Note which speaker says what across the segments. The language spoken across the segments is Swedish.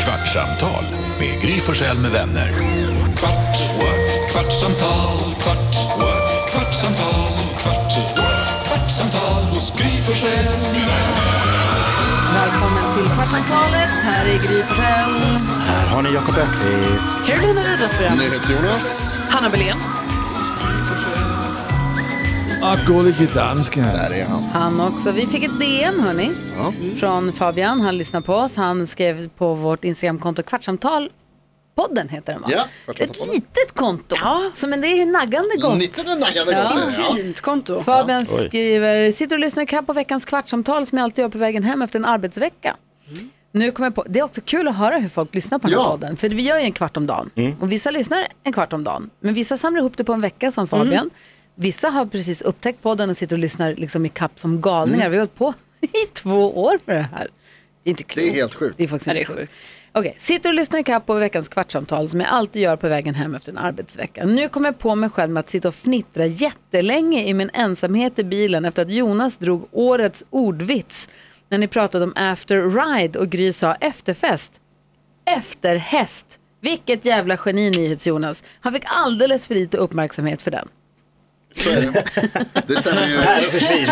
Speaker 1: Kvartsamtal med Gry Forssell med vänner. Kvart, what? kvartsamtal, kvart, what? kvartsamtal, kvart, what? kvartsamtal hos Gry Forssell med vänner.
Speaker 2: Välkommen till Kvartsamtalet. Här är Gry Forssell.
Speaker 3: Här har ni Jakob Ökvist.
Speaker 2: Carolina Widerström.
Speaker 4: Jonas.
Speaker 2: Hanna Belén.
Speaker 5: Och gullige danska.
Speaker 4: Där är han.
Speaker 2: Han också. Vi fick ett DM, hörni,
Speaker 4: Ja.
Speaker 2: från Fabian. Han lyssnar på oss. Han skrev på vårt Instagramkonto Kvartsamtal. Podden heter den va?
Speaker 4: Ja,
Speaker 2: Ett
Speaker 4: Kvartsamtalpodden.
Speaker 2: litet konto, som men det är naggande gott.
Speaker 4: Nyttigt med naggande gott.
Speaker 2: Ja.
Speaker 4: är det, Ja.
Speaker 6: konto.
Speaker 2: Fabian
Speaker 3: Oj.
Speaker 2: skriver, sitter och lyssnar ikapp på veckans kvartsamtal som jag alltid gör på vägen hem efter en arbetsvecka. Nu kommer jag på, det är också kul att höra hur folk lyssnar på den här
Speaker 4: Ja. Mm.
Speaker 2: podden. För vi gör ju en kvart om dagen. Och vissa lyssnar en kvart om dagen. Men vissa samlar ihop det på en vecka
Speaker 4: Mm.
Speaker 2: som Fabian. Vissa har precis upptäckt podden och sitter och lyssnar liksom i kapp som galningar.
Speaker 4: Mm.
Speaker 2: Vi har hållit på i två år med det här. Det är inte klokt.
Speaker 4: Det är helt sjukt.
Speaker 2: Det är faktiskt
Speaker 6: det är
Speaker 2: inte
Speaker 6: sjukt.
Speaker 2: Okej, sitter och lyssnar ikapp på veckans kvartsamtal som jag alltid gör på vägen hem efter en arbetsvecka. Nu kommer jag på mig själv med att sitta och fnittra jättelänge i min ensamhet i bilen efter att Jonas drog årets ordvits när ni pratade om after ride och Gry sa efterfest. Efterhäst. Vilket jävla geni nyhets Jonas. Han fick alldeles för lite uppmärksamhet för den.
Speaker 4: Så är det. Det stämmer ju.
Speaker 3: Försvinn.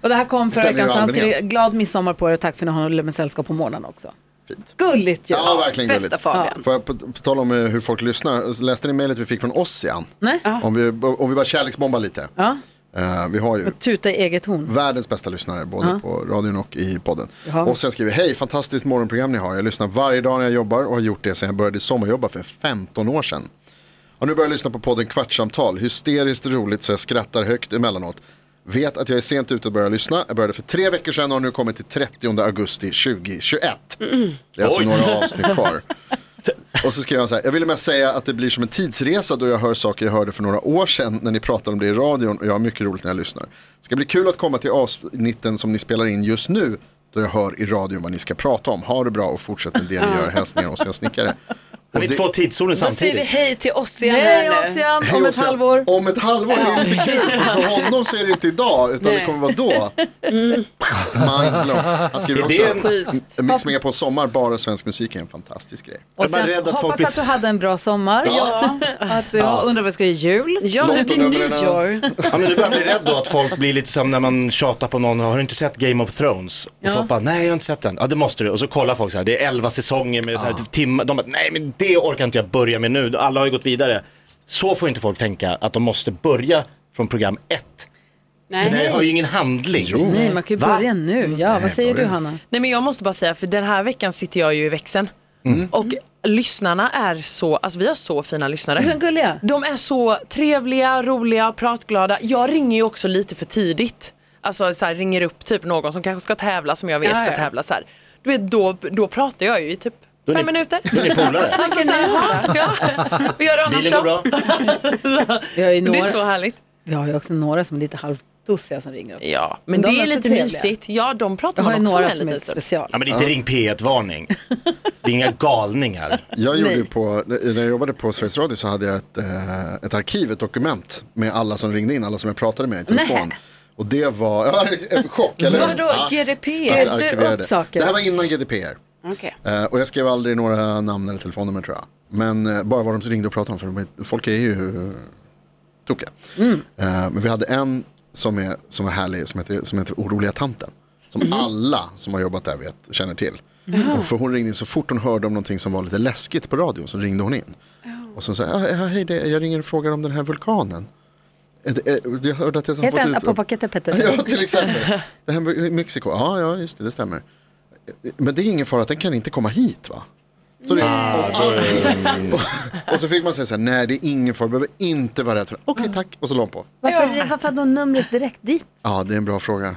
Speaker 2: Och det här kom förra
Speaker 4: Stämmer ju
Speaker 2: veckan så han skrev
Speaker 4: allmänhet.
Speaker 2: glad midsommar på er och tack för att ni håller mig sällskap på morgonen också. Gulligt ju.
Speaker 4: Ja, verkligen
Speaker 6: Bästa
Speaker 4: gulligt.
Speaker 6: Fabian.
Speaker 4: Får jag på, på tal om eh, hur folk lyssnar, läste ni mejlet vi fick från Ossian?
Speaker 2: Nej?
Speaker 4: Om vi, om vi bara kärleksbombar lite.
Speaker 2: Ja.
Speaker 4: Eh, vi har ju
Speaker 2: Tuta i eget horn.
Speaker 4: världens bästa lyssnare, både på radion och i podden.
Speaker 2: Jaha.
Speaker 4: Ossian skriver, hej, fantastiskt morgonprogram ni har. Jag lyssnar varje dag när jag jobbar och har gjort det sedan jag började sommarjobba för 15 år sedan. Och nu börjar jag lyssna på podden Kvartsamtal. Hysteriskt roligt så jag skrattar högt emellanåt. Vet att jag är sent ute och börjar lyssna. Jag började för tre veckor sedan och har nu kommit till 30 augusti 2021. Det är alltså några avsnitt kvar. Och så skrev han så här, jag ville mest säga att det blir som en tidsresa då jag hör saker jag hörde för några år sedan när ni pratade om det i radion och jag har mycket roligt när jag lyssnar. Det ska bli kul att komma till avsnitten som ni spelar in just nu då jag hör i radion vad ni ska prata om. Ha det bra och fortsätt med det ni gör. Hälsningar och sen snickare.
Speaker 3: Det
Speaker 4: Och
Speaker 3: är
Speaker 4: det-
Speaker 3: två tidszoner
Speaker 6: Då säger vi
Speaker 3: samtidigt.
Speaker 6: hej till oss igen
Speaker 2: Hej
Speaker 6: här nu.
Speaker 2: Ossian,
Speaker 4: Hej
Speaker 2: om ett
Speaker 4: Åsa.
Speaker 2: halvår.
Speaker 4: Om ett halvår, det är lite kul. För, för honom så är det inte idag, utan det
Speaker 6: Nej.
Speaker 4: kommer vara då.
Speaker 2: Mm.
Speaker 4: Mindblown. Han skriver
Speaker 3: Är det
Speaker 4: också,
Speaker 6: sjukt?
Speaker 4: Mix på sommar, bara svensk musik är en fantastisk grej.
Speaker 2: Och
Speaker 3: Är man
Speaker 2: sen
Speaker 3: rädd att
Speaker 2: hoppas
Speaker 3: folk blir-
Speaker 2: att du hade en bra sommar.
Speaker 4: Ja.
Speaker 2: Att du undrar vad du ska göra i jul.
Speaker 6: Ja, hur blir
Speaker 4: Lottonumren är-
Speaker 6: nyår?
Speaker 3: Ja, men du börjar bli rädd då att folk blir lite som när man tjatar på någon, har du inte sett Game of Thrones? Och folk bara, nej jag har inte sett den. Ja det måste du. Och så kollar folk så här, det är elva säsonger med så här, timmar. De bara, nej men det orkar inte jag börja med nu. Alla har ju gått vidare. Så får inte folk tänka, att de måste börja från program ett. För det har ju ingen handling.
Speaker 2: Nej, man kan ju
Speaker 3: Va?
Speaker 2: börja nu. Ja, vad säger du Hanna?
Speaker 7: Nej men jag måste bara säga, för den här veckan sitter jag ju i växeln.
Speaker 3: Mm.
Speaker 7: Och lyssnarna är så, alltså vi har så fina lyssnare.
Speaker 6: Mm.
Speaker 2: Så gulliga.
Speaker 7: De är så trevliga, roliga, pratglada. Jag ringer ju också lite för tidigt. Alltså så här, ringer upp typ någon som kanske ska tävla som jag vet
Speaker 6: Ja,
Speaker 7: ska
Speaker 6: ja.
Speaker 7: tävla så här. Du vet, då, då pratar jag ju i typ
Speaker 3: är
Speaker 7: fem
Speaker 3: ni-
Speaker 7: minuter.
Speaker 3: Då är ni polare.
Speaker 7: Alltså, så här, ja, vad gör du annars
Speaker 3: Bilen går
Speaker 7: då?
Speaker 3: bra.
Speaker 2: Vi har ju
Speaker 7: Det är så
Speaker 2: några,
Speaker 7: härligt.
Speaker 2: vi har ju också några som är lite halvtossiga som ringer. upp.
Speaker 7: Ja, men
Speaker 2: De
Speaker 7: det
Speaker 2: är
Speaker 7: är
Speaker 2: också
Speaker 7: lite
Speaker 2: trevliga.
Speaker 7: mysigt. Ja, de
Speaker 2: Jag
Speaker 7: pratar
Speaker 2: har ju
Speaker 7: man också
Speaker 2: några
Speaker 7: med
Speaker 2: som
Speaker 7: en
Speaker 2: är
Speaker 7: liten stund.
Speaker 2: special.
Speaker 3: Ja men det är inte ring P1-varning. Det är inga galningar.
Speaker 4: Jag gjorde ju på, när jag jobbade på Sveriges Radio så hade jag ett, eh, ett arkiv, ett dokument med alla som ringde in, alla som jag pratade med i telefon. Och det var, ja, en chock, eller hur?
Speaker 6: Vadå,
Speaker 4: Ja,
Speaker 6: GDP?
Speaker 4: att jag
Speaker 2: Skrev du
Speaker 4: arkiverade.
Speaker 2: upp saker?
Speaker 4: Det här var innan GDPR.
Speaker 6: Okej.
Speaker 4: Eh, och jag skrev aldrig några namn eller telefonnummer tror jag. Men eh, bara vad de ringde och pratade om, för de, är- folk är ju eh, tokiga.
Speaker 2: Mm.
Speaker 4: Eh, men vi hade en som är, som var härlig, som heter, som heter Oroliga tanten. Som
Speaker 2: Mm.
Speaker 4: alla som har jobbat där vet, känner till. Och för hon ringde in så fort hon hörde om någonting som var lite läskigt på radio så ringde hon in.
Speaker 2: Oh.
Speaker 4: Och så sa jag, "Ah, hej, det, jag ringer och frågar om den här vulkanen. Eh, det- eh, Jag hörde att jag har
Speaker 2: Heter
Speaker 4: fått
Speaker 2: den
Speaker 4: ut...
Speaker 2: Apopakete Petter?
Speaker 4: Ja, till exempel. Det här med Mexiko, ja, ja, just det, det stämmer. Men det är ingen fara att den kan inte komma hit, va? Så det,
Speaker 3: Ah,
Speaker 4: och, allt- och, och så fick man säga så här, nej det är ingen fara, du behöver inte vara rädd för det. Okej, tack. Och så la hon på.
Speaker 2: Varför, varför hade hon numret direkt dit?
Speaker 4: Ja, det är en bra fråga.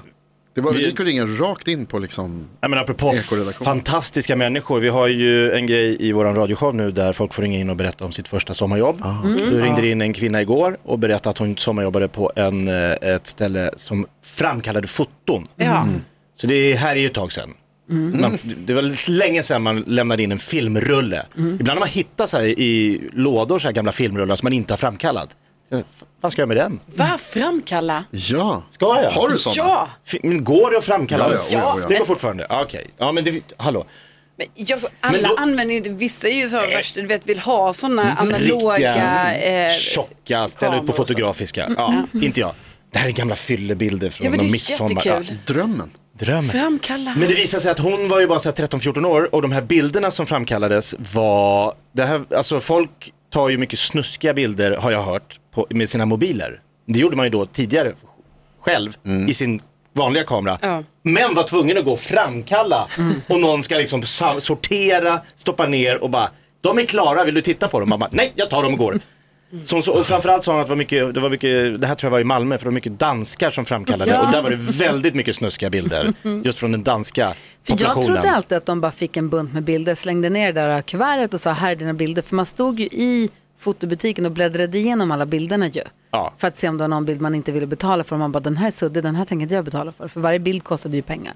Speaker 4: Det var, det gick att ringa rakt in på liksom,
Speaker 3: Nej, men apropå
Speaker 4: Ekoredaktion.
Speaker 3: fantastiska människor, vi har ju en grej i vår radioshow nu där folk får ringa in och berätta om sitt första sommarjobb.
Speaker 4: Ah,
Speaker 3: Du ringde in en kvinna igår och berättade att hon sommarjobbade på en, eh, ett ställe som framkallade foton.
Speaker 6: Ja.
Speaker 2: Mm.
Speaker 3: Så det här är ju ett tag sedan. Man, det var lite länge sedan man lämnade in en filmrulle. Ibland har man hittat så här i lådor så här gamla filmrullar som man inte har framkallat. Eh, Vad fan ska jag med den?
Speaker 6: Vad framkalla?
Speaker 4: ja.
Speaker 3: Ska jag?
Speaker 4: Har du sådana?
Speaker 6: Ja!
Speaker 3: Fi- Men går det att framkalla?
Speaker 4: Ja, ja, ja, ja, ja.
Speaker 3: Det går fortfarande? Ja, Okej. Ja, men det, hallå.
Speaker 6: Men jag, alla
Speaker 3: Men då- Mm,
Speaker 6: använder ju inte, vissa är ju så värst, du vet, vill ha sådana analoga...
Speaker 3: Riktiga,
Speaker 6: Eh,
Speaker 3: tjocka, ställa ut
Speaker 6: kameror
Speaker 3: på
Speaker 6: och så. Mm.
Speaker 3: fotografiska. Ja, inte jag. Det här är gamla fyllebilder från
Speaker 6: Ja, men det
Speaker 3: någon
Speaker 6: är
Speaker 3: midsommar. Ja,
Speaker 6: jättekul.
Speaker 4: Drömmen.
Speaker 3: drömmen.
Speaker 6: Framkalla.
Speaker 3: Men det visade sig att hon var ju bara så här 13-14 år och de här bilderna som framkallades var, det här, alltså folk tar ju mycket snuskiga bilder har jag hört på, med sina mobiler. Det gjorde man ju då tidigare själv i sin vanliga kamera.
Speaker 6: Ja.
Speaker 3: Men var tvungen att gå och framkalla och någon ska liksom sa- sortera, stoppa ner och bara, de är klara, vill du titta på dem? Man bara, nej jag tar dem och går. Så, hon så, och framförallt sa hon att det var, mycket, det var mycket, det här tror jag var i Malmö, för det var mycket danskar som framkallade och där var det väldigt mycket snuskiga bilder just från den danska
Speaker 2: För jag
Speaker 3: populationen.
Speaker 2: trodde alltid att de bara fick en bunt med bilder, slängde ner det där kuvertet och sa här är dina bilder. För man stod ju i fotobutiken och bläddrade igenom alla bilderna ju.
Speaker 3: Ja.
Speaker 2: För att se om det var någon bild man inte ville betala för. Och Man bara den här är suddig, den här tänker inte jag betala för. För varje bild kostade ju pengar.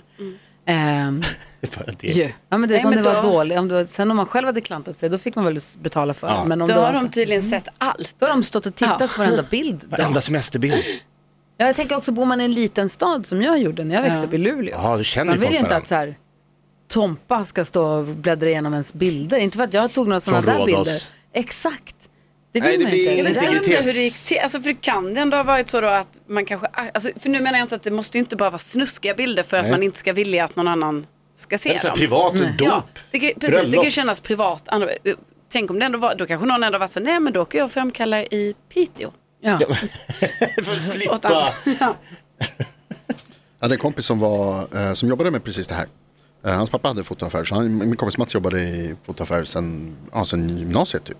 Speaker 2: Ehm,
Speaker 3: För det-
Speaker 2: ju. Ja men du vet
Speaker 6: Mm. Nej,
Speaker 2: om det
Speaker 6: men
Speaker 2: var
Speaker 6: då-
Speaker 2: dåligt, om det var, sen om man själv hade klantat sig då fick man väl betala för det. Men om
Speaker 6: Då
Speaker 2: det var
Speaker 6: har
Speaker 3: Mm.
Speaker 2: så-
Speaker 6: de tydligen sett allt.
Speaker 2: då har de stått och tittat
Speaker 6: Ja.
Speaker 2: på varenda bild. då.
Speaker 3: Varenda semesterbild.
Speaker 2: Ja, jag tänker också, bor man i en liten stad som jag gjorde när jag växte upp i Luleå.
Speaker 3: Ja, du känner
Speaker 2: Man
Speaker 3: ju
Speaker 2: vill
Speaker 3: folk
Speaker 2: ju inte
Speaker 3: varandra.
Speaker 2: att så här, Tompa ska stå och bläddra igenom ens bilder. Inte för att jag tog några sådana
Speaker 3: Från
Speaker 2: där
Speaker 3: Rhodos.
Speaker 2: bilder. Exakt. Det vill
Speaker 3: Nej, det
Speaker 2: man
Speaker 3: blir
Speaker 2: inte.
Speaker 6: Jag
Speaker 2: Det
Speaker 6: vet
Speaker 2: där-
Speaker 6: jag undrar
Speaker 3: Integritets-
Speaker 6: hur det gick till. Alltså, för det kan det ändå ha varit så då att man kanske, alltså, för nu menar jag inte att det måste ju inte bara vara snuskiga bilder för att man inte ska vilja att någon annan ska se
Speaker 3: Eller så här
Speaker 6: dem.
Speaker 3: privat dop.
Speaker 6: Ja, det kan, precis, det
Speaker 3: Bröllop.
Speaker 6: kan ju kännas privat. Andra- Tänk om det ändå var, då kanske någon ändå var så nej men då kan jag framkalla i Piteå.
Speaker 2: Ja.
Speaker 3: För att
Speaker 6: Åt andra.
Speaker 3: slippa.
Speaker 6: Ja.
Speaker 4: Jag hade en kompis som, var, eh, som jobbade med precis det här. Eh, hans pappa hade fotoaffär, så han, min kompis Mats jobbade i fotoaffär sen, ja, sen gymnasiet typ.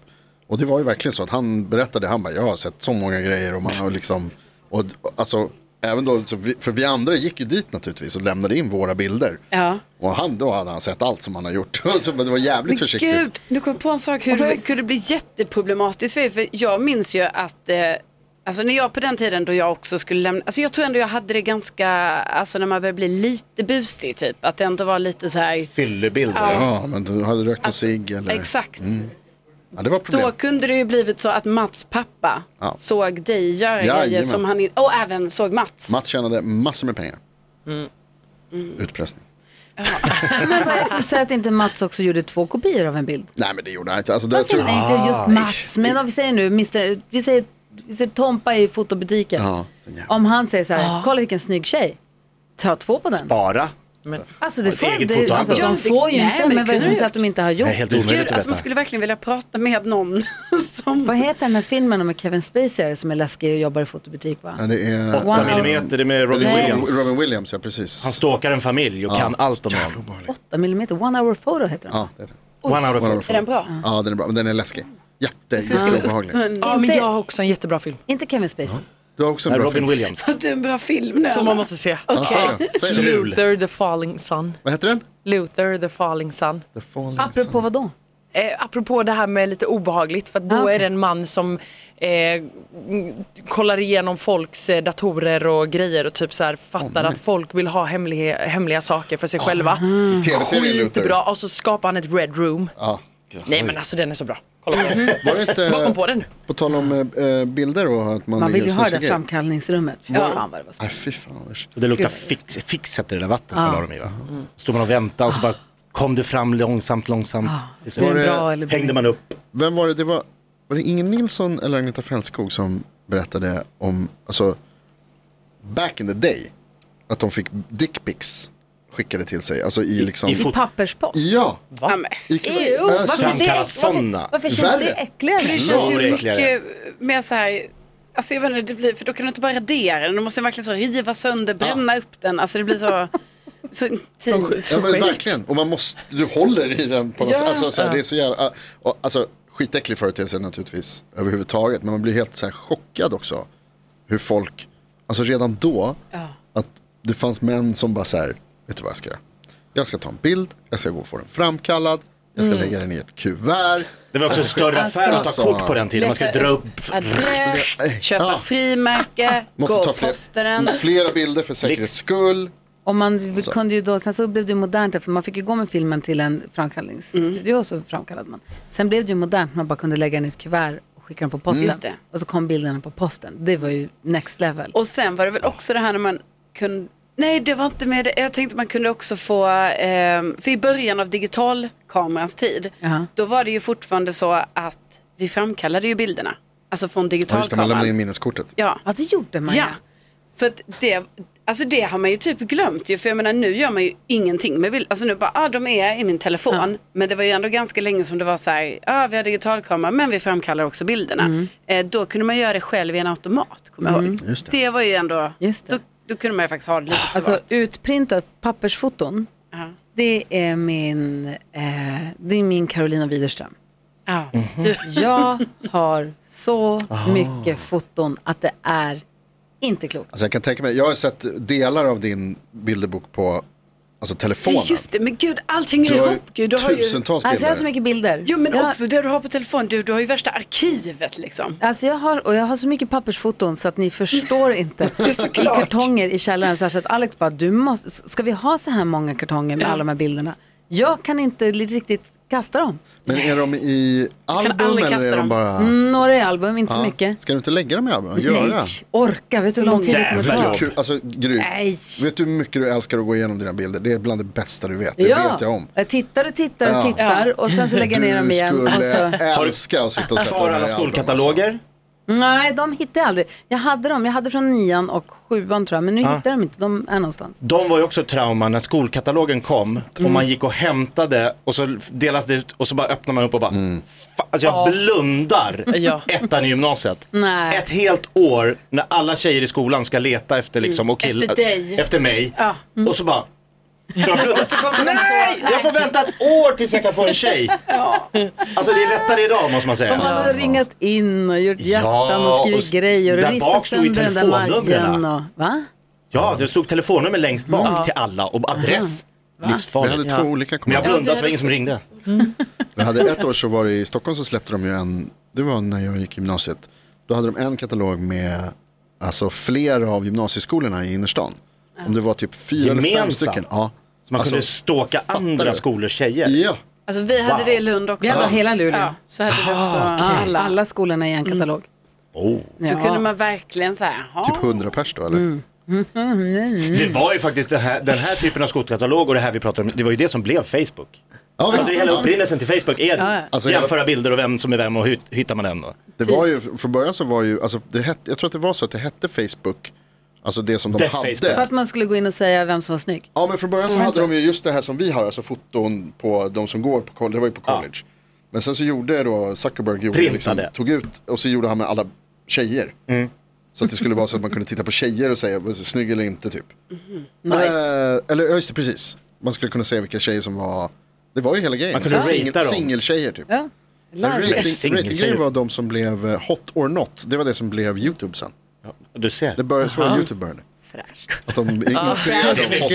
Speaker 4: Och det var ju verkligen så att han berättade, han bara, jag har sett så många grejer och man har liksom, och, alltså, även då, så vi, för vi andra gick ju dit naturligtvis och lämnade in våra bilder.
Speaker 6: Ja.
Speaker 4: Och han, då hade han sett allt som han har gjort. Så, Men det var jävligt
Speaker 6: Men
Speaker 4: försiktigt.
Speaker 6: gud, nu kom jag på en sak hur det kunde bli jätteproblematiskt för er, för jag minns ju att eh, Alltså när jag på den tiden då jag också skulle lämna, alltså jag tror ändå jag hade det ganska, alltså när man började bli lite busig typ, att det ändå var lite så här,
Speaker 3: Fyllebilder.
Speaker 4: Ja, men du hade rökt en cigg eller?
Speaker 6: Alltså,
Speaker 4: Mm,
Speaker 6: exakt.
Speaker 4: Ja, det var
Speaker 6: Då
Speaker 4: problem.
Speaker 6: kunde det ju blivit så att Mats pappa
Speaker 4: Ja.
Speaker 6: såg dig göra grejer
Speaker 4: Jajamän.
Speaker 6: som han inte, och även såg Mats.
Speaker 4: Mats tjänade massor med pengar.
Speaker 6: Mm.
Speaker 4: Utpressning.
Speaker 2: Men vad är det som säger att inte Mats också gjorde två kopior av en bild?
Speaker 4: Nej men det gjorde han inte. Alltså, det
Speaker 2: Varför
Speaker 4: tror jag-
Speaker 2: nej, inte
Speaker 3: Ah,
Speaker 2: just Mats? Men om vi säger nu, Mr, vi, säger, vi säger Tompa i fotobutiken.
Speaker 4: Ja, den jävla-
Speaker 2: Om han säger så
Speaker 6: Ah.
Speaker 2: här, kolla vilken snygg tjej. Ta två på den.
Speaker 3: Spara.
Speaker 2: Alltså, det
Speaker 3: ett
Speaker 2: får,
Speaker 3: eget
Speaker 2: det,
Speaker 3: fotoalbum.
Speaker 2: alltså de
Speaker 6: Ja,
Speaker 2: får ju
Speaker 6: nej,
Speaker 2: inte,
Speaker 6: men
Speaker 2: men
Speaker 6: det
Speaker 2: vad är det
Speaker 6: kunde
Speaker 2: som
Speaker 6: du
Speaker 2: säger att
Speaker 6: gjort.
Speaker 2: de inte har gjort?
Speaker 3: Det är helt
Speaker 6: Gud,
Speaker 3: omöjligt att
Speaker 6: alltså man
Speaker 3: veta.
Speaker 6: skulle verkligen vilja prata med någon som...
Speaker 2: Vad heter den här filmen om kriminalspeciare som är läskig och jobbar i fotobutik? Va?
Speaker 4: Ja, det är...
Speaker 3: 8 millimeter, det är med Robin
Speaker 2: Nej.
Speaker 3: Williams.
Speaker 4: Robin Williams, ja precis.
Speaker 3: Han stalkar en familj och kan allt om dem.
Speaker 2: 8 millimeter, One Hour Photo heter den.
Speaker 4: Ja, det är det.
Speaker 3: One out of
Speaker 4: One
Speaker 3: four.
Speaker 4: out
Speaker 6: Är den bra?
Speaker 4: Ja, den är bra. Men den är läskig. Jätte,
Speaker 6: Så ska vi
Speaker 4: jätteobehaglig.
Speaker 6: uppmuntra-
Speaker 7: Ja, men
Speaker 2: Inte-
Speaker 7: jag har också en jättebra film.
Speaker 2: Inte Kevin Spacey.
Speaker 4: Du har också en
Speaker 3: Nej,
Speaker 4: bra
Speaker 3: Robin
Speaker 4: film.
Speaker 3: Williams.
Speaker 6: Du är en bra film nu.
Speaker 7: Som man måste se.
Speaker 4: Ja, säg den. Säg den.
Speaker 3: Strul.
Speaker 7: Luther the falling sun.
Speaker 4: Vad heter den?
Speaker 7: Luther the falling sun.
Speaker 4: The Falling
Speaker 2: Apropå
Speaker 4: Sun.
Speaker 2: vad då?
Speaker 7: Eh, apropå det här med lite obehagligt för att då
Speaker 2: Ah, okej.
Speaker 7: är det en man som eh, mm, kollar igenom folks eh, datorer och grejer och typ så här fattar att folk vill ha hemliga, hemliga saker för sig själva.
Speaker 4: Mm. Tv-serien Luther.
Speaker 7: Skitbra och så skapar han ett red room.
Speaker 4: Ja.
Speaker 7: Nej men alltså den är så bra. Kolla på den.
Speaker 4: Var det inte...
Speaker 7: Vad kom på den nu?
Speaker 4: På tal om eh, bilder och att man...
Speaker 2: Man vill ju ha det där
Speaker 4: snusar grejer.
Speaker 2: framkallningsrummet. Ja. Fan vad det var
Speaker 4: Nej,
Speaker 2: spännande.
Speaker 4: fy fan Anders.
Speaker 3: Och det luktar fix, fix efter det där vattnet man la dem i va? Stod man och väntade och så bara kom det fram långsamt, långsamt. Till slut
Speaker 2: Blir det
Speaker 4: Ah. Var
Speaker 2: bra
Speaker 4: det-
Speaker 2: eller blir
Speaker 3: Hängde
Speaker 2: det-
Speaker 3: man upp.
Speaker 4: Vem var det? Det var, var det Inger Nilsson eller Agneta Fältskog som berättade om, alltså, back in the day, att de fick dickpics skickade till sig. Alltså i liksom...
Speaker 3: i fot-
Speaker 2: I papperspost?
Speaker 4: Ja!
Speaker 6: Ja, men
Speaker 4: I, Äh,
Speaker 2: Ew, varför, är det,
Speaker 3: Framkalla
Speaker 2: varför,
Speaker 3: såna.
Speaker 2: varför känns det
Speaker 4: Värre.
Speaker 6: Det
Speaker 2: äckligare?
Speaker 6: känns
Speaker 3: Ja, det
Speaker 6: ju
Speaker 3: är äckligare.
Speaker 6: mycket mer så här, alltså jag vet inte, det blir, för då kan du inte bara radera den, du måste verkligen så riva sönder, bränna upp den, alltså det blir så, så intimt.
Speaker 4: Ja men verkligen, och man måste, du håller i den på något sätt. Alltså, så här, det är så jävla, och, alltså, skitäcklig företeelse naturligtvis överhuvudtaget, men man blir helt så här chockad också. Hur folk, alltså redan då, att det fanns män som bara så här, vet du vad jag ska göra? Jag ska ta en bild, jag ska gå och få den framkallad, jag
Speaker 6: Mm.
Speaker 4: ska lägga den i ett kuvert.
Speaker 3: Det var också en större affär att
Speaker 4: alltså-
Speaker 3: ta kort på den tiden. Man skulle dra upp.
Speaker 6: Adress, köpa
Speaker 4: Ja.
Speaker 6: frimärke,
Speaker 4: Måste
Speaker 6: gå
Speaker 4: ta
Speaker 6: och posta den.
Speaker 4: fler, flera bilder för säkerhets skull.
Speaker 2: Och man kunde ju då, sen så blev det ju modernt, för man fick ju gå med filmen till en framkallningsstudio och så framkallade man. Sen blev det ju modernt, man bara kunde lägga den i ett kuvert och skicka den på posten.
Speaker 6: Just det.
Speaker 2: Och så kom bilderna på posten. Det var ju next level.
Speaker 6: Och sen var det väl också det här när man kunde Nej, det var inte med det. Jag tänkte man kunde också få, eh, för i början av digitalkamerans tid,
Speaker 2: Jaha.
Speaker 6: då var det ju fortfarande så att vi framkallade ju bilderna. Alltså från
Speaker 4: Ja, just det, man lämnar in
Speaker 6: digitalkameran.
Speaker 4: minneskortet.
Speaker 6: Ja,
Speaker 2: Ja, det gjorde man
Speaker 6: ja.
Speaker 2: ju.
Speaker 6: För att det, alltså det har man ju typ glömt ju. För jag menar nu gör man ju ingenting med bild. Alltså nu bara, ah, de är i min telefon. Men det var ju ändå ganska länge som det var så här, ah, vi har digitalkamera men vi framkallar också bilderna. Eh, då kunde man göra det själv i en automat, kommer jag ihåg.
Speaker 4: Just
Speaker 6: det. var ju ändå,
Speaker 2: Just det.
Speaker 6: Då, då kunde man ju faktiskt ha det lite
Speaker 2: Alltså
Speaker 6: privat.
Speaker 2: utprintat pappersfoton,
Speaker 6: Ja.
Speaker 2: det är min, eh, det är min Carolina Widerström.
Speaker 6: Ja.
Speaker 4: Mhm.
Speaker 6: Du,
Speaker 2: Jag har så mycket foton att det är inte klokt.
Speaker 4: Alltså jag kan tänka mig, jag har sett delar av din bilderbok på alltså telefonen.
Speaker 6: ja, just det, men gud allt hänger
Speaker 4: Du har ju
Speaker 6: ihop. Gud, du har ju...
Speaker 4: tusentals
Speaker 2: Alltså jag har så
Speaker 4: bilder.
Speaker 2: mycket bilder.
Speaker 6: Jo men
Speaker 2: jag,
Speaker 6: också det du har på telefon, du, du har ju värsta arkivet liksom.
Speaker 2: Alltså jag har, och jag har så mycket pappersfoton så att ni förstår inte. I
Speaker 6: såklart.
Speaker 2: kartonger i källaren så här så att Alex bara, du måste, ska vi ha så här många kartonger med alla de här bilderna? Jag kan inte li- riktigt kasta dem.
Speaker 4: Men är de i album
Speaker 6: aldrig
Speaker 4: eller
Speaker 6: kasta
Speaker 4: är de
Speaker 6: dem.
Speaker 4: bara...
Speaker 2: Några i album, inte Mm, så
Speaker 4: Ja.
Speaker 2: mycket.
Speaker 4: Ska du inte lägga dem i album? Göra.
Speaker 2: Nej, orka, vet du hur lång tid det kommer
Speaker 3: Jävlar.
Speaker 2: ta?
Speaker 4: Vad kul. Alltså, Gry,
Speaker 2: Nej.
Speaker 4: vet du hur mycket du älskar att gå igenom dina bilder? Det är bland det bästa du vet, det vet jag om.
Speaker 2: tittar och tittar och
Speaker 4: Ja.
Speaker 2: tittar och sen så lägger jag ner dem
Speaker 4: Du
Speaker 2: igen. Alltså, Och
Speaker 4: skulle
Speaker 2: så...
Speaker 4: älska att sitta och sätta
Speaker 3: Kvar
Speaker 4: dem i
Speaker 3: alla
Speaker 4: album,
Speaker 3: skolkataloger.
Speaker 2: Nej, de hittade jag aldrig. Jag hade dem, jag hade från nian och sjuan tror jag, men nu hittar jag dem inte, de är någonstans.
Speaker 3: De var ju också ett trauma när skolkatalogen kom och
Speaker 6: Mm.
Speaker 3: man gick och hämtade och så delas det ut och så bara öppnar man upp och bara,
Speaker 4: Mm.
Speaker 3: fa- alltså jag blundar
Speaker 7: Ja.
Speaker 3: ettan i gymnasiet.
Speaker 2: Nej.
Speaker 3: Ett helt år när alla tjejer i skolan ska leta efter liksom och killar.
Speaker 6: Mm. Efter dig.
Speaker 3: Efter mig.
Speaker 6: Ja. Mm.
Speaker 3: Och så bara, jag blundar.
Speaker 6: Så kommer man
Speaker 3: Nej,
Speaker 6: på-
Speaker 3: jag får vänta ett år tills jag kan få en tjej. Alltså det är lättare idag måste man säga.
Speaker 2: Om man hade ringat in och gjort
Speaker 3: Ja,
Speaker 2: hjärtan och skrivit
Speaker 3: och s-
Speaker 2: grejer och
Speaker 3: där
Speaker 2: ristat
Speaker 3: bak stod ju
Speaker 2: sönder den där majen.
Speaker 3: telefonnumren, va?
Speaker 2: Och, va?
Speaker 3: Ja, det stod telefonnummer längst bak
Speaker 6: Mm.
Speaker 3: till alla och adress.
Speaker 4: Vi
Speaker 3: Livsfarligt.
Speaker 4: hade två olika
Speaker 3: Men jag
Speaker 4: kommuner.
Speaker 3: blundade så var det ingen som ringde.
Speaker 4: Vi hade ett år så var det i Stockholm så släppte de ju en, det var när jag gick gymnasiet. Då hade de en katalog med alltså, flera av gymnasieskolorna i innerstan. Om det var typ fyra eller fem
Speaker 3: Gemensamt.
Speaker 4: stycken. Ja.
Speaker 3: Så man
Speaker 4: Alltså,
Speaker 3: kunde ståka andra
Speaker 4: du?
Speaker 3: skolors tjejer.
Speaker 4: ja.
Speaker 6: Alltså vi hade
Speaker 3: Wow.
Speaker 6: det i Lund också.
Speaker 2: Vi hade hela Luleå.
Speaker 6: Ja, så hade vi också
Speaker 2: Alla.
Speaker 6: alla.
Speaker 2: Alla skolorna i en katalog.
Speaker 3: Mm. Oh.
Speaker 6: Då kunde
Speaker 2: Ja.
Speaker 6: man verkligen säga,
Speaker 4: Typ hundra pers då eller?
Speaker 3: Det var ju faktiskt det här, den här typen av skolkatalog och det här vi pratar om, det var ju det som blev Facebook.
Speaker 4: Ja,
Speaker 3: Alltså
Speaker 4: visst.
Speaker 3: hela upprinnelsen till Facebook är
Speaker 4: Alltså, jag-
Speaker 3: jämföra bilder och vem som är vem och hur hittar man den då?
Speaker 4: Det var ju, från början så var ju, alltså, det hette, jag tror att det var så att det hette Facebook, alltså det som de
Speaker 3: Det
Speaker 4: hade.
Speaker 3: Facebook. Mm.
Speaker 2: För att man skulle gå in och säga vem som var snygg.
Speaker 4: Ja men från början så hade de ju just det här som vi har, alltså foton på de som går på college, det var ju på college. Men sen så gjorde då Zuckerberg, gjorde
Speaker 3: Printade. Mm.
Speaker 4: liksom, tog ut och så gjorde han med alla tjejer. Så att det skulle vara så att man kunde titta på tjejer och säga, "Vad är det, snygg eller inte typ. Eh, eller ja, just det, precis. Man skulle kunna säga vilka tjejer som var, det var ju hela grejen.
Speaker 3: Man kunde
Speaker 4: Singel-
Speaker 3: ratea dem.
Speaker 4: Singeltjejer typ.
Speaker 2: Ja.
Speaker 4: Rating-
Speaker 3: Singeltjejer.
Speaker 4: Ratinggrejen var de som blev eh, hot or not, det var det som blev YouTube sen.
Speaker 3: Ja, du ser.
Speaker 4: Det började vara YouTube började.
Speaker 2: Fräscht.
Speaker 4: Att de inspirerade av hot or not.
Speaker 2: Jag
Speaker 3: Fatta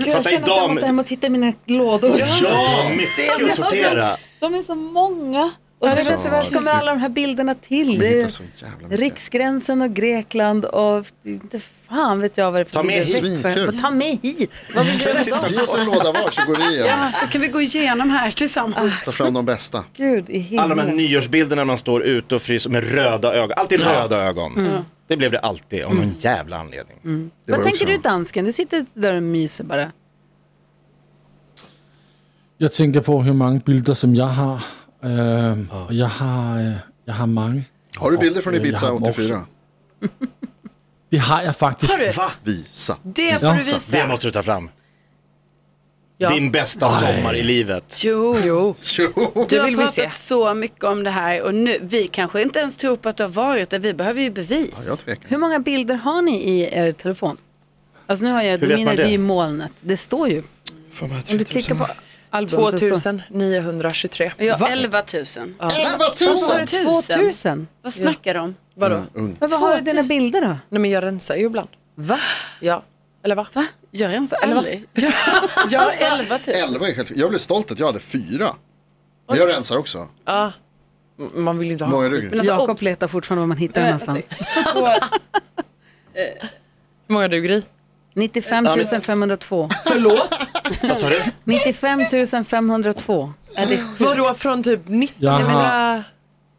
Speaker 2: känner att jag
Speaker 3: idag
Speaker 2: måste
Speaker 3: med...
Speaker 2: hem och titta i mina lådor.
Speaker 3: Ja, mycket att sortera.
Speaker 2: De är så många. Och så
Speaker 4: Alltså,
Speaker 2: vet jag, vad kommer alla de här bilderna till?
Speaker 4: De
Speaker 2: Det
Speaker 4: hittar
Speaker 2: är
Speaker 4: så jävla mycket.
Speaker 2: Riksgränsen och Grekland och inte fan vet jag vad det är för
Speaker 3: Ta med
Speaker 2: bilder.
Speaker 4: hit.
Speaker 2: För-
Speaker 4: Svinkul.
Speaker 2: Ta med hit. Vad vill du göra med dem?
Speaker 4: Ge oss en låda var så går vi igenom.
Speaker 6: Ja, så kan vi gå igenom här tillsammans.
Speaker 4: Ta fram de bästa.
Speaker 2: Gud i
Speaker 3: Alla de här
Speaker 2: himlen.
Speaker 3: nyårsbilderna när man står ute och fryser med röda ögon. Alltid röda ögon.
Speaker 4: Mm.
Speaker 3: Det blev det alltid av någon jävla anledning.
Speaker 4: Det
Speaker 2: Vad
Speaker 4: var
Speaker 2: tänker du
Speaker 4: också-
Speaker 2: dansken? Du sitter där och myser bara.
Speaker 5: Jeg tænker på, hvor mange billeder, som jeg har. Øh, og jeg har, øh, jeg har mange.
Speaker 4: Har du bilder från
Speaker 5: Jag
Speaker 4: Ibiza
Speaker 5: har också.
Speaker 4: 84?
Speaker 5: Det har jeg faktisk.
Speaker 6: Har du?
Speaker 3: Va?
Speaker 4: Visa.
Speaker 6: Det får du visa.
Speaker 3: Det måste du ta fram.
Speaker 7: Ja.
Speaker 3: Din bästa sommar i livet.
Speaker 6: Jo,
Speaker 4: Jo.
Speaker 6: du
Speaker 7: Det
Speaker 6: har
Speaker 7: vill vi se.
Speaker 6: pratat så mycket om det här och nu, vi kanske inte ens tror på att du har varit där, vi behöver ju
Speaker 4: Jag
Speaker 6: bevis.
Speaker 4: tvekar.
Speaker 2: Hur många bilder har ni i er telefon? Alltså nu har jag,
Speaker 3: Hur vet
Speaker 2: mina,
Speaker 3: man
Speaker 2: det
Speaker 3: det?
Speaker 2: är ju molnet. Det står ju.
Speaker 4: Fan, vad
Speaker 2: Om du
Speaker 4: 30 000.
Speaker 2: klickar på album så står
Speaker 7: 2923.
Speaker 6: Ja, 11 000.
Speaker 4: 11 000!
Speaker 2: 2000.
Speaker 6: Vad snackar de om?
Speaker 7: Vadå?
Speaker 3: Mm.
Speaker 2: Men vad har du dina bilder då?
Speaker 7: Nej men jag rensar ju ibland.
Speaker 6: Va?
Speaker 7: Ja. Eller va? va?
Speaker 6: Jag rensar aldrig. Ja, jag har 11 000.
Speaker 7: Alltså,
Speaker 4: 11 är själv. Jag blev stolt att jag hade fyra. Men jag rensar också.
Speaker 7: M- Man vill ju inte ha.
Speaker 4: Många ryggar.
Speaker 6: Men alltså, Äh,
Speaker 2: Jakob letar fortfarande var man hittar den någonstans.
Speaker 6: och-
Speaker 7: Hur många du Gry?
Speaker 2: 95 502.
Speaker 3: Vad sa du?
Speaker 2: 95 502.
Speaker 6: Ja, det är sjukt.
Speaker 7: Vadå från typ 1900?
Speaker 5: Jag har,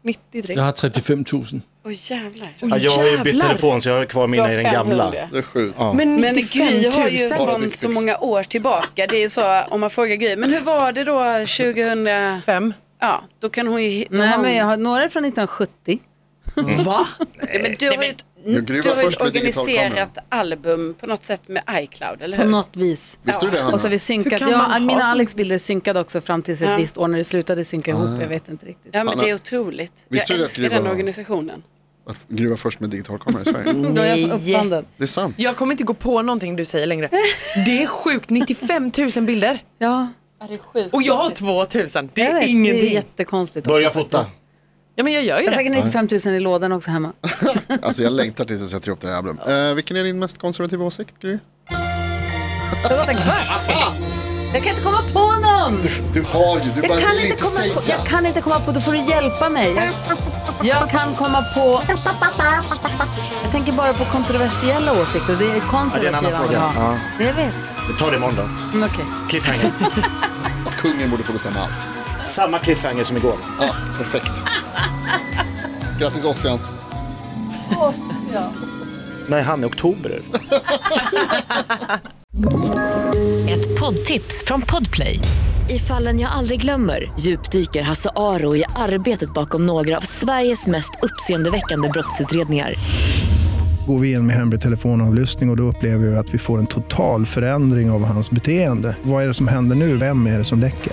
Speaker 7: 90 direkt.
Speaker 5: Jeg har 35.000.
Speaker 6: Åh jävlar.
Speaker 3: Ja, jag har ju bytt
Speaker 7: Jävlar.
Speaker 3: telefon så jag har kvar mina i den gamla.
Speaker 4: Det är sjukt.
Speaker 7: Men,
Speaker 6: Men Gry har
Speaker 7: 95
Speaker 6: ju
Speaker 7: 000.
Speaker 4: Ja, det är
Speaker 6: från så
Speaker 4: sjukt.
Speaker 6: många år tillbaka. Det är ju så om man frågar Gry. Men hur var det då 2000?
Speaker 7: Fem.
Speaker 6: Ja, då kan hon ju... då
Speaker 2: Nej,
Speaker 6: hon-
Speaker 2: men jag har några från 1970.
Speaker 7: Va?
Speaker 6: Nej, men du har ju,
Speaker 4: men Gry
Speaker 6: du
Speaker 4: var
Speaker 6: har ju
Speaker 4: först med digital
Speaker 6: organiserat album på något sätt med iCloud, eller
Speaker 2: På
Speaker 6: hur?
Speaker 4: Mm.
Speaker 2: något vis.
Speaker 4: Visste du det Hanna?
Speaker 2: Och så har vi synkat.
Speaker 7: kan man
Speaker 2: Ja,
Speaker 7: ha
Speaker 2: mina
Speaker 7: så-
Speaker 2: Alex-bilder är synkade också fram till ett
Speaker 6: Ja.
Speaker 2: visst år när det slutade synka
Speaker 3: Ah.
Speaker 2: ihop. Jag vet inte riktigt.
Speaker 6: Ja, men
Speaker 4: Hanna,
Speaker 6: det är otroligt. Jag
Speaker 4: visste du det att
Speaker 6: älskar
Speaker 4: Gry
Speaker 6: den
Speaker 4: var-
Speaker 6: organisationen.
Speaker 4: Att Gry var först med digitalkamera i Sverige.
Speaker 2: Då har jag uppfann den.
Speaker 4: Det är sant.
Speaker 7: Jag kommer inte gå på någonting du säger längre. Det är sjukt, 95 000 bilder.
Speaker 2: Ja,
Speaker 7: Och jag har 2000, det
Speaker 2: jag
Speaker 7: är
Speaker 2: vet. Det är
Speaker 7: ingenting.
Speaker 2: jättekonstigt. också
Speaker 3: Börja fota.
Speaker 2: faktiskt.
Speaker 7: Ja men jag
Speaker 6: Alltså,
Speaker 7: gör ju
Speaker 2: Jag har
Speaker 7: det.
Speaker 2: säkert 95 000 i lådan också hemma.
Speaker 4: Alltså jag längtar tills jag sätter ihop det här albumet. Eh, vilken är din mest konservativa åsikt Gry?
Speaker 2: Det har gått en kvart. Jag kan inte komma på någon.
Speaker 4: Du har ju, du
Speaker 2: Jag kan, inte komma på, jag kan inte komma på, då får du hjälpa mig. Jag, jag kan komma på... Jag tänker bara på kontroversiella åsikter. Det är konservativa.
Speaker 3: annan fråga.
Speaker 2: man har.
Speaker 3: Ja.
Speaker 2: Det jag vet.
Speaker 3: Ta det imorgon då.
Speaker 2: Mm, Okej.
Speaker 3: Cliffhanger.
Speaker 4: Att kungen borde få bestämma allt.
Speaker 3: Samma cliffhanger som igår.
Speaker 4: Ja, perfekt. Grattis Ossian.
Speaker 3: Nej, han är oktober är det.
Speaker 8: Ett poddtips från Podplay. I fallen jag aldrig glömmer djupdyker Hasse Aro i arbetet bakom några av Sveriges mest uppseendeväckande brottsutredningar.
Speaker 9: går vi in med hemlig telefonavlyssning och, och då upplever vi att vi får en total förändring av hans beteende. Vad är det som händer nu? Vem är det som läcker?